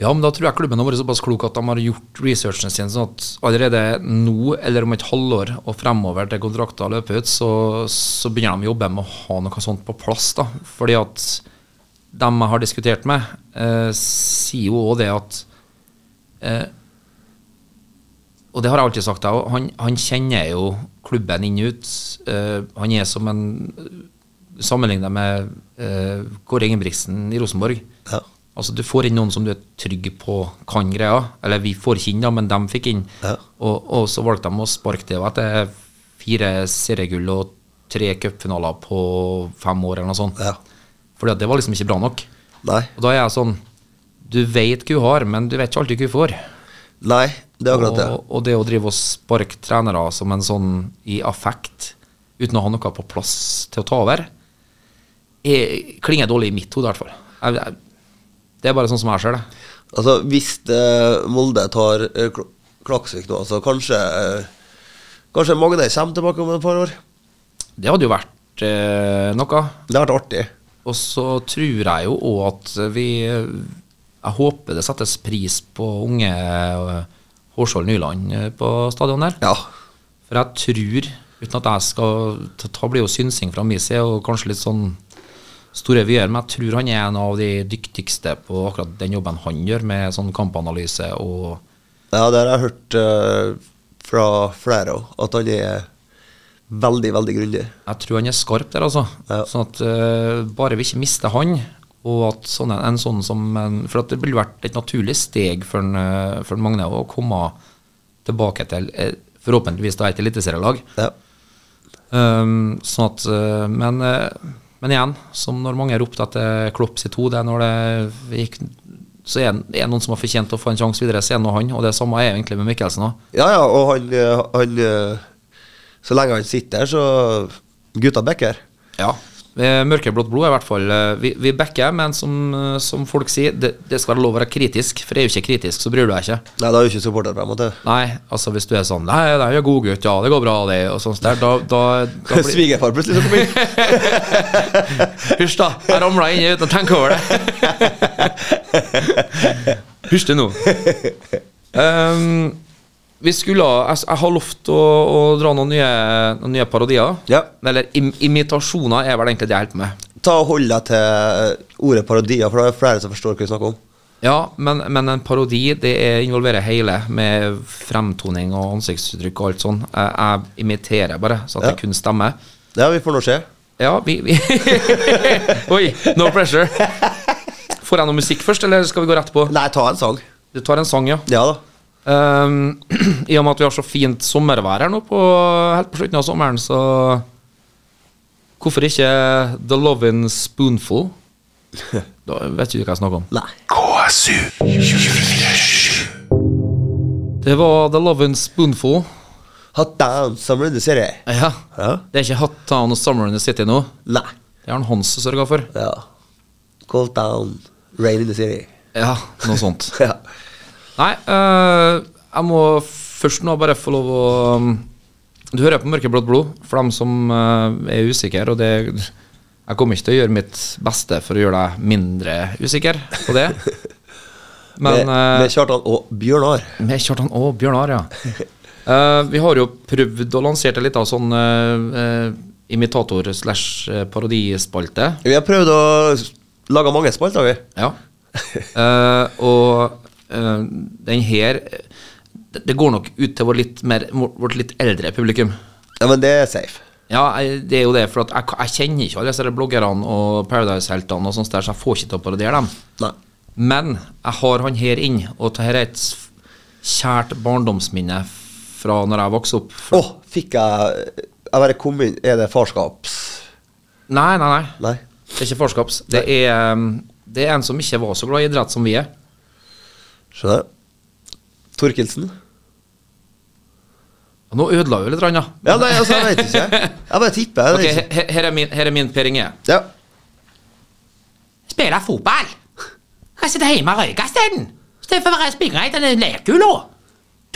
[SPEAKER 4] Ja, men da tror jeg klubben har vært såpass klok at de har gjort researchen sin, sånn at allerede nå, eller om et halvår og fremover til kontrakta løper ut, så, så begynner de å jobbe med å ha noe sånt på plass. da. Fordi at dem jeg har diskutert med, eh, sier jo òg det at eh, Og det har jeg alltid sagt, jeg òg. Han, han kjenner jo klubben inn og ut. Eh, han er som en Sammenlignet med eh, Kåre Ingebrigtsen i Rosenborg.
[SPEAKER 2] Ja.
[SPEAKER 4] Altså Du får inn noen som du er trygg på kan greia. Eller vi får ikke inn, da, men de fikk inn.
[SPEAKER 2] Ja.
[SPEAKER 4] Og, og så valgte de å sparke det og etter fire seriegull og tre cupfinaler på fem år, eller noe sånt.
[SPEAKER 2] Ja.
[SPEAKER 4] Fordi at det var liksom ikke bra nok.
[SPEAKER 2] Nei.
[SPEAKER 4] Og da er jeg sånn Du vet hva hun har, men du vet ikke alltid hva hun får.
[SPEAKER 2] Nei, det er akkurat det.
[SPEAKER 4] Og, og det å drive og sparke trenere som en sånn i affekt, uten å ha noe på plass til å ta over, er, klinger dårlig i mitt hode, i hvert fall. Jeg, jeg, det er bare sånn som jeg ser det.
[SPEAKER 2] Altså, hvis eh, Molde tar eh, Kl- Klaksvik nå, så kanskje eh, Kanskje Magne kommer tilbake om et par år.
[SPEAKER 4] Det hadde jo vært eh, noe.
[SPEAKER 2] Det har vært artig.
[SPEAKER 4] Og så tror jeg jo òg at vi Jeg håper det settes pris på unge eh, Hårsvold Nyland eh, på stadion der.
[SPEAKER 2] Ja.
[SPEAKER 4] For jeg tror, uten at jeg skal ta- Ta blir jo synsing fra min side, og kanskje litt sånn store vyer, men jeg tror han er en av de dyktigste på akkurat den jobben han gjør, med sånn kampanalyse og
[SPEAKER 2] ja, det har jeg hørt eh, fra flere òg, at han er veldig, veldig grundig.
[SPEAKER 4] Jeg tror han er skarp der, altså.
[SPEAKER 2] Ja.
[SPEAKER 4] Sånn at eh, Bare vi ikke mister han, og at sånn en, en sånn som en, For at det ville vært et naturlig steg for, en, eh, for en Magne å komme tilbake til eh, forhåpentligvis da et eliteserielag.
[SPEAKER 2] Ja.
[SPEAKER 4] Um, sånn at, eh, men, eh, men igjen, som når mange ropte etter Klopp sitt hode når det gikk så er det noen som har fortjent å få en sjanse videre, så er det nå han. Og det samme er egentlig med Mikkelsen òg.
[SPEAKER 2] Ja, ja, og han, eh, han eh, Så lenge han sitter her, så Gutta backer.
[SPEAKER 4] Ja. Eh, Mørkeblått blod er i hvert fall eh, Vi, vi backer, men som, eh, som folk sier, det, det skal være lov å være kritisk, for er du ikke kritisk, så bryr du deg ikke.
[SPEAKER 2] Nei, da er jo ikke supporter på en måte.
[SPEAKER 4] Nei, altså hvis du er sånn Nei, det er jo god gutt, ja, det går bra, det, og sånt der, da, da, da blir
[SPEAKER 2] <laughs> Svigerfar plutselig som kom inn.
[SPEAKER 4] Hysj, da! Jeg ramla inni uten å tenke over det. Hysj det nå. Ehm, vi skulle ha- Jeg, jeg har lovt å, å dra noen nye, noen nye parodier.
[SPEAKER 2] <laughs> Ja.
[SPEAKER 4] Eller im, imitasjoner er vel egentlig det jeg holder på med.
[SPEAKER 2] Ta og Hold deg til eh, ordet parodier, for da er det flere som forstår hva vi snakker om.
[SPEAKER 4] Ja, men, men en parodi det er, involverer hele, med fremtoning og ansiktsuttrykk og alt sånn. Jeg, jeg imiterer bare, så at
[SPEAKER 2] Ja.
[SPEAKER 4] det kun stemmer.
[SPEAKER 2] Ja, vi får nå se.
[SPEAKER 4] Ja, vi, <laughs> vi Oi, no pressure. Får jeg noe musikk først, eller skal vi gå rett på?
[SPEAKER 2] Nei, ta en sang.
[SPEAKER 4] Du tar en sang, ja.
[SPEAKER 2] Ja da.
[SPEAKER 4] Ehm, <clears throat> I og med at vi har så fint sommervær her nå på, helt på slutten av sommeren, så Hvorfor ikke The Lovin' Spoonful? Da vet du ikke hva jeg snakker om.
[SPEAKER 2] Nei.
[SPEAKER 3] KSU.
[SPEAKER 4] Det var The Lovin' Spoonful.
[SPEAKER 2] Hot down, som rundeserie.
[SPEAKER 4] Ja.
[SPEAKER 2] Ja.
[SPEAKER 4] Det er ikke Hot Town og Summer in the City nå.
[SPEAKER 2] Nei.
[SPEAKER 4] Det har han Hans sørga for.
[SPEAKER 2] Ja. Cold down, rain in the city. <laughs>
[SPEAKER 4] Ja, <laughs> noe sånt.
[SPEAKER 2] Ja.
[SPEAKER 4] Nei, øh, jeg må først nå bare få lov å um, Du hører på Mørkeblått blod, for dem som øh, er usikre, og det Jeg kommer ikke til å gjøre mitt beste for å gjøre deg mindre usikker på det. Men
[SPEAKER 2] med,
[SPEAKER 4] øh,
[SPEAKER 2] med Kjartan og Bjørnar.
[SPEAKER 4] med Kjartan og Bjørnar, ja. Eh, vi har jo prøvd og lansert en liten sånn eh, eh, imitator-slash-parodispalte.
[SPEAKER 2] Vi har prøvd å s- lage mange spalter, vi.
[SPEAKER 4] Ja. Eh, og eh, den her det, det går nok ut til vårt litt, mer, vårt litt eldre publikum.
[SPEAKER 2] Ja, men det er safe.
[SPEAKER 4] Ja, jeg- det er jo det, for at jeg, ka- jeg kjenner ikke alle disse her bloggerne og Paradise-heltene, og sånt der, så jeg får ikke til å parodiere dem.
[SPEAKER 2] Nei.
[SPEAKER 4] Men jeg har han her inn, og dette her er et s- kjært barndomsminne fra når jeg vokste opp.
[SPEAKER 2] Å, fikk jeg eh, Jeg bare kom inn Er det farskaps...?
[SPEAKER 4] Nei, nei, nei.
[SPEAKER 2] Nei.
[SPEAKER 4] Det er ikke farskaps. Det er, um, det er en som ikke var så glad i idrett som vi er.
[SPEAKER 2] Skjønner. Torkelsen?
[SPEAKER 4] Nå ødela jo litt, rann, da.
[SPEAKER 2] Ja, nei, altså, jeg vet ikke. Jeg bare tipper. Jeg
[SPEAKER 4] Ok,
[SPEAKER 2] vet ikke.
[SPEAKER 4] he- her, er min, her er min Per Inge.
[SPEAKER 2] Ja.
[SPEAKER 6] spille fotball. Jeg sitter hjemme og røyker isteden. Istedenfor å være springe i denne lekehula.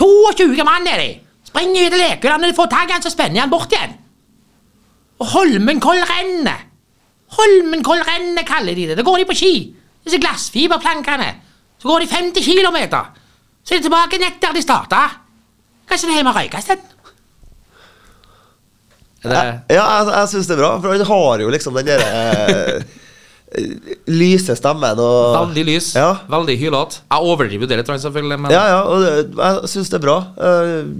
[SPEAKER 6] 22 mann er de. Springer ut i lekehula når de får tak i han, så spenner jeg han bort igjen. Og Holmenkollrennet. Holmenkollrennet kaller de det. Da går de på ski. Disse glassfiberplankene. Så går de 50 km. Så er de tilbake nett der de starta. Kanskje de er hjemme og røyker isteden.
[SPEAKER 4] Er det,
[SPEAKER 2] Ja, jeg, jeg syns det er bra, for han har jo liksom den derre eh, lyse stemmen og
[SPEAKER 4] Veldig lys,
[SPEAKER 2] Ja.
[SPEAKER 4] veldig hylete. Jeg overdriver jo det litt, selvfølgelig, men
[SPEAKER 2] Ja, ja, og det, jeg syns det er bra. Eh,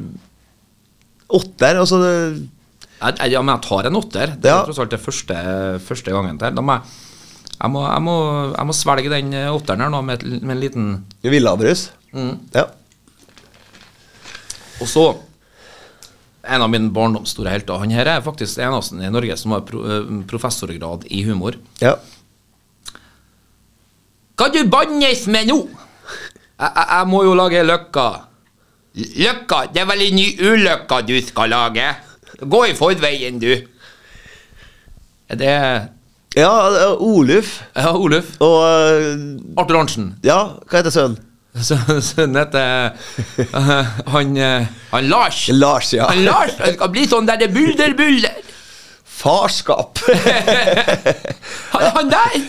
[SPEAKER 2] åtter, altså det,
[SPEAKER 4] Jeg, jeg, ja, men jeg tar en åtter. Det er
[SPEAKER 2] Ja.
[SPEAKER 4] tross alt det første, første gangen der. Da må jeg, jeg, må, jeg, må, jeg må svelge den eh, åtteren her nå med, et- med en liten
[SPEAKER 2] Villabrus. Ja.
[SPEAKER 4] Og så En av mine barndomsstore helter. Han her er faktisk den eneste i Norge som har pro, eh, professorgrad i humor.
[SPEAKER 2] ja.
[SPEAKER 4] Hva du bannes med nå? Jeg, jeg, jeg må jo lage løkka. Løkka, det er vel en ny uløkka du skal lage? Gå i forveien, du. Er det
[SPEAKER 2] Ja, det er Oluf
[SPEAKER 4] Ja, Oluf.
[SPEAKER 2] og eh,
[SPEAKER 4] Arthur Arntzen.
[SPEAKER 2] Ja, hva heter sønnen?
[SPEAKER 4] Så Sønnen heter eh, han, eh, han Lars.
[SPEAKER 2] Lars, ja.
[SPEAKER 4] Han Lars han skal bli sånn derre bulderbuller.
[SPEAKER 2] Farskap!
[SPEAKER 4] Han, han der!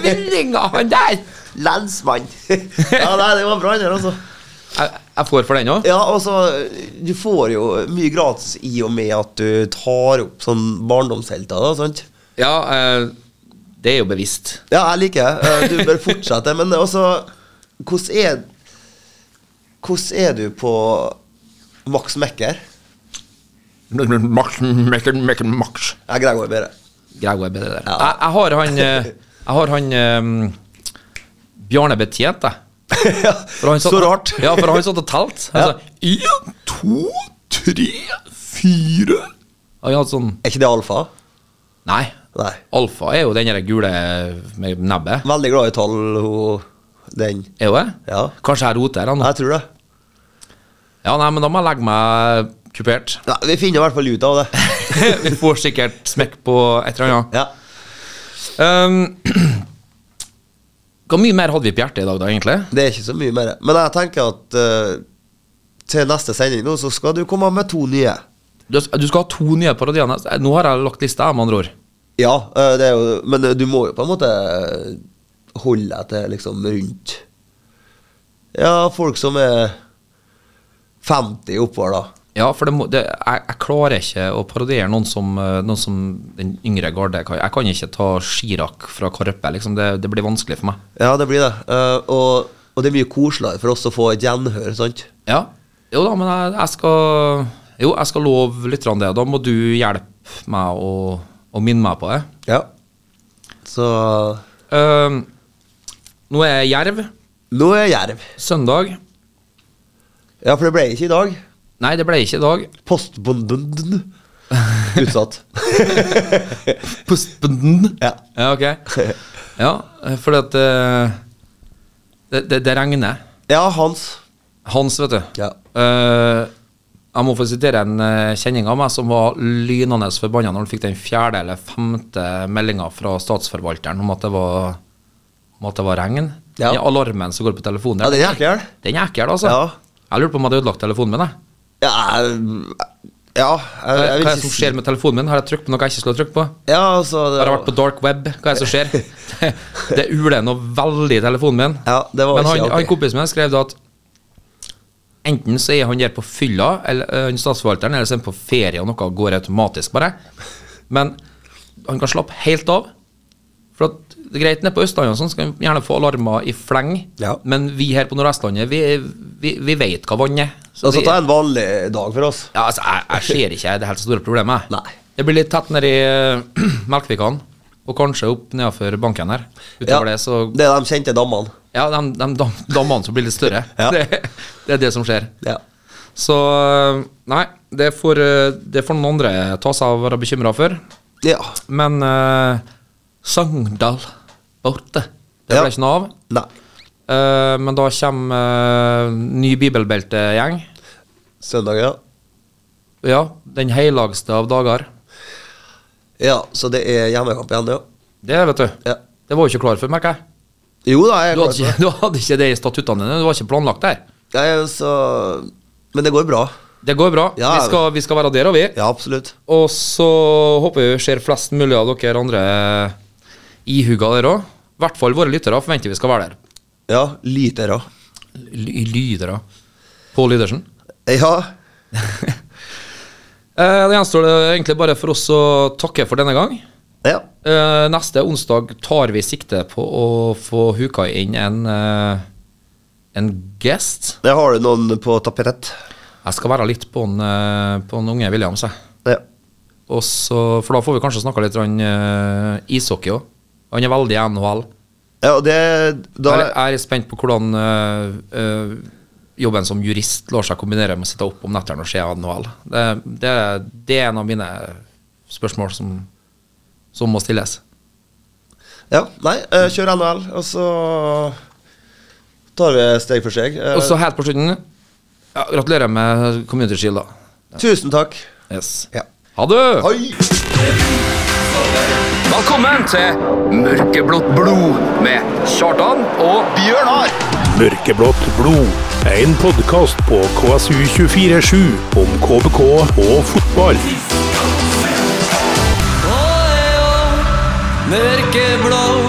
[SPEAKER 4] Tvillinger, han der.
[SPEAKER 2] Lensmann. ja, nei, det var bra, den der, altså.
[SPEAKER 4] Jeg, jeg får for den òg?
[SPEAKER 2] Ja, altså, du får jo mye gratis i og med at du tar opp sånn barndomshelter, da, sant?
[SPEAKER 4] Ja, eh, det er jo bevisst.
[SPEAKER 2] Ja, jeg liker det. Eh, Du bør fortsette. Men altså, hvordan er Hvordan er du på Max Mekker?
[SPEAKER 4] Max, Max, Max, Max.
[SPEAKER 2] Jeg greier meg bedre. <laughs>
[SPEAKER 4] Grei web er det der.
[SPEAKER 2] Ja.
[SPEAKER 4] Jeg, jeg har han eh, Jeg har han eh, Bjarne Betjent, jeg. For han satt-
[SPEAKER 2] Så rart.
[SPEAKER 4] Ja, for han satt og telte. Han sa én, to, tre, fire Han hadde sånn
[SPEAKER 2] <laughs> Er ikke det alfa?
[SPEAKER 4] Nei.
[SPEAKER 2] Nei.
[SPEAKER 4] Alfa er jo den der gule med nebbet.
[SPEAKER 2] Veldig glad i tall, hun den.
[SPEAKER 4] Er jo det?
[SPEAKER 2] Ja.
[SPEAKER 4] Kanskje jeg roter her nå?
[SPEAKER 2] Jeg tror det.
[SPEAKER 4] Ja, nei, men da må jeg legge meg kupert. <laughs>
[SPEAKER 2] Nei, vi finner i hvert fall ut av det.
[SPEAKER 4] Vi får sikkert smekk på et eller annet.
[SPEAKER 2] Ja.
[SPEAKER 4] <clears throat> Um, Hvor mye mer hadde vi på hjertet i dag, da, egentlig?
[SPEAKER 2] Det er ikke så mye mer. Men jeg tenker at eh, til neste sending nå, så skal du komme med to nye.
[SPEAKER 4] Du, du skal ha to nye parodier. neste- Nå har jeg lagt lista, med andre ord.
[SPEAKER 2] Ja, eh, det er jo Men eh, du må jo på en måte eh, holde deg til liksom rundt Ja, folk som er 50 oppover, da.
[SPEAKER 4] Ja, for det må, det, jeg, jeg klarer ikke å parodiere noen som, eh, noen som den yngre garde. kan. Jeg kan ikke ta Chirac fra Karpe. Liksom. Det, det blir vanskelig for meg.
[SPEAKER 2] Ja, det blir det. Eh, og, og det er mye koseligere for oss å få et gjenhør, sant?
[SPEAKER 4] Ja, Jo da, men jeg, jeg skal Jo, jeg skal love lytterne det. Da må du hjelpe meg å, å minne meg på det.
[SPEAKER 2] Ja. Så
[SPEAKER 4] Eh, nå er jeg Jerv.
[SPEAKER 2] nå er jeg jerv.
[SPEAKER 4] Søndag.
[SPEAKER 2] Ja, for det ble ikke i dag.
[SPEAKER 4] Nei, det ble ikke i dag.
[SPEAKER 2] Postbonden utsatt.
[SPEAKER 4] <laughs> Postbonden.
[SPEAKER 2] Ja.
[SPEAKER 4] ja, ok. Ja, eh, fordi at eh, det, det, det regner.
[SPEAKER 2] Ja, Hans.
[SPEAKER 4] Hans, vet du.
[SPEAKER 2] Ja.
[SPEAKER 4] Eh, jeg må få sitere en eh, kjenning av meg som var lynende forbanna når han fikk den fjerde eller femte meldinga fra statsforvalteren om at det var, om at det var regn.
[SPEAKER 2] Ja.
[SPEAKER 4] Den alarmen som går på telefonen
[SPEAKER 2] Ja,
[SPEAKER 4] der.
[SPEAKER 2] den er ekkel.
[SPEAKER 4] den er ekkel, altså.
[SPEAKER 2] Ja.
[SPEAKER 4] Jeg lurer på om jeg hadde ødelagt telefonen min. Jeg.
[SPEAKER 2] Ja, jeg- ja jeg,
[SPEAKER 4] Hva
[SPEAKER 2] jeg
[SPEAKER 4] er
[SPEAKER 2] vil
[SPEAKER 4] det
[SPEAKER 2] ikke
[SPEAKER 4] som
[SPEAKER 2] si-
[SPEAKER 4] skjer med telefonen min? Har jeg trykt på noe jeg ikke skulle ha trykt på?
[SPEAKER 2] Ja, altså det,
[SPEAKER 4] Har jeg vært på dark web? Hva er det som
[SPEAKER 2] <laughs>
[SPEAKER 4] skjer? Det, det uler noe veldig i telefonen min.
[SPEAKER 2] Ja, det var
[SPEAKER 4] Men
[SPEAKER 2] ikke
[SPEAKER 4] han,
[SPEAKER 2] artig.
[SPEAKER 4] han kompisen min skrev da at enten så er han der på fylla, eller ø, han statsforvalteren, eller så er han på ferie og noe går automatisk, bare. Men han kan slappe helt av. For at det er greit, nede på Østlandet og sånn skal han gjerne få alarmer i fleng,
[SPEAKER 2] Ja.
[SPEAKER 4] men vi her på Nordvestlandet, vi, vi, vi vet hva vann er. Så
[SPEAKER 2] Altså,
[SPEAKER 4] vi-
[SPEAKER 2] ta en vanlig dag for oss.
[SPEAKER 4] ja, altså, jeg, jeg ser ikke det helt store problemet. jeg.
[SPEAKER 2] Nei.
[SPEAKER 4] Det blir litt tett nedi <clears throat> Melkvikene, og kanskje opp nedenfor banken her.
[SPEAKER 2] Ja,
[SPEAKER 4] Utover det, så
[SPEAKER 2] det er de kjente dammene.
[SPEAKER 4] Ja, de, de dam- dammene som blir litt større.
[SPEAKER 2] Ja.
[SPEAKER 4] <laughs> det, det er det som skjer.
[SPEAKER 2] Ja.
[SPEAKER 4] Så eh, nei, det får, eh, det får noen andre ta seg av og være bekymra for.
[SPEAKER 2] ja.
[SPEAKER 4] Men eh, Sogndal borte. Det
[SPEAKER 2] Ja.
[SPEAKER 4] ble ikke noe av.
[SPEAKER 2] Nei.
[SPEAKER 4] Eh, men da kommer eh, ny bibelbeltegjeng.
[SPEAKER 2] Søndag, ja.
[SPEAKER 4] Ja, den helligste av dager.
[SPEAKER 2] Ja, så det er hjemmekamp igjen, ja.
[SPEAKER 4] Det, vet du.
[SPEAKER 2] ja.
[SPEAKER 4] Det var jo ikke klar for, merker jeg.
[SPEAKER 2] Jo da, jeg er
[SPEAKER 4] Du hadde,
[SPEAKER 2] klar for
[SPEAKER 4] ikke, <laughs>
[SPEAKER 2] det.
[SPEAKER 4] du hadde ikke det i statuttene dine. Du var ikke planlagt der.
[SPEAKER 2] Nei, så, men det går bra.
[SPEAKER 4] Det går bra.
[SPEAKER 2] Ja.
[SPEAKER 4] Vi, skal, vi skal være der, og vi.
[SPEAKER 2] Ja, absolutt.
[SPEAKER 4] Og så håper vi ser flest mulig av dere andre ihuga der òg. I hvert fall våre lyttere forventer vi skal være der.
[SPEAKER 2] Ja, lytere.
[SPEAKER 4] Ly lydere. Pål Lydersen.
[SPEAKER 2] Ja,
[SPEAKER 4] Eh, det gjenstår det egentlig bare for oss å takke for denne gang.
[SPEAKER 2] ja.
[SPEAKER 4] Eh, neste onsdag tar vi sikte på å få huka inn en, eh, en guest.
[SPEAKER 2] Jeg har du noen på tapetet.
[SPEAKER 4] Jeg skal være litt på en, eh, på en unge Williams, jeg.
[SPEAKER 2] Ja.
[SPEAKER 4] Og så- for da får vi kanskje snakka litt om eh, ishockey òg. Han er veldig i NHL.
[SPEAKER 2] Ja, og det da,
[SPEAKER 4] Jeg er litt spent på hvordan øh, øh, jobben som jurist lar seg kombinere med å sitte opp om nettene og se NHL. Det, det, det er en av mine spørsmål som, som må stilles.
[SPEAKER 2] ja, Nei, eh, kjør NHL, og så tar vi steg for steg. Eh,
[SPEAKER 4] Og så helt på slutten ja, Gratulerer med Community Shield, da.
[SPEAKER 2] Tusen takk.
[SPEAKER 4] Yes.
[SPEAKER 2] Ja.
[SPEAKER 4] Ha det!
[SPEAKER 2] Hei!
[SPEAKER 1] Velkommen til Mørkeblått blod med Kjartan og Bjørnar.
[SPEAKER 3] Mørkeblått blod er en podkast på KSU247 om KBK og fotball.
[SPEAKER 7] Mørkeblå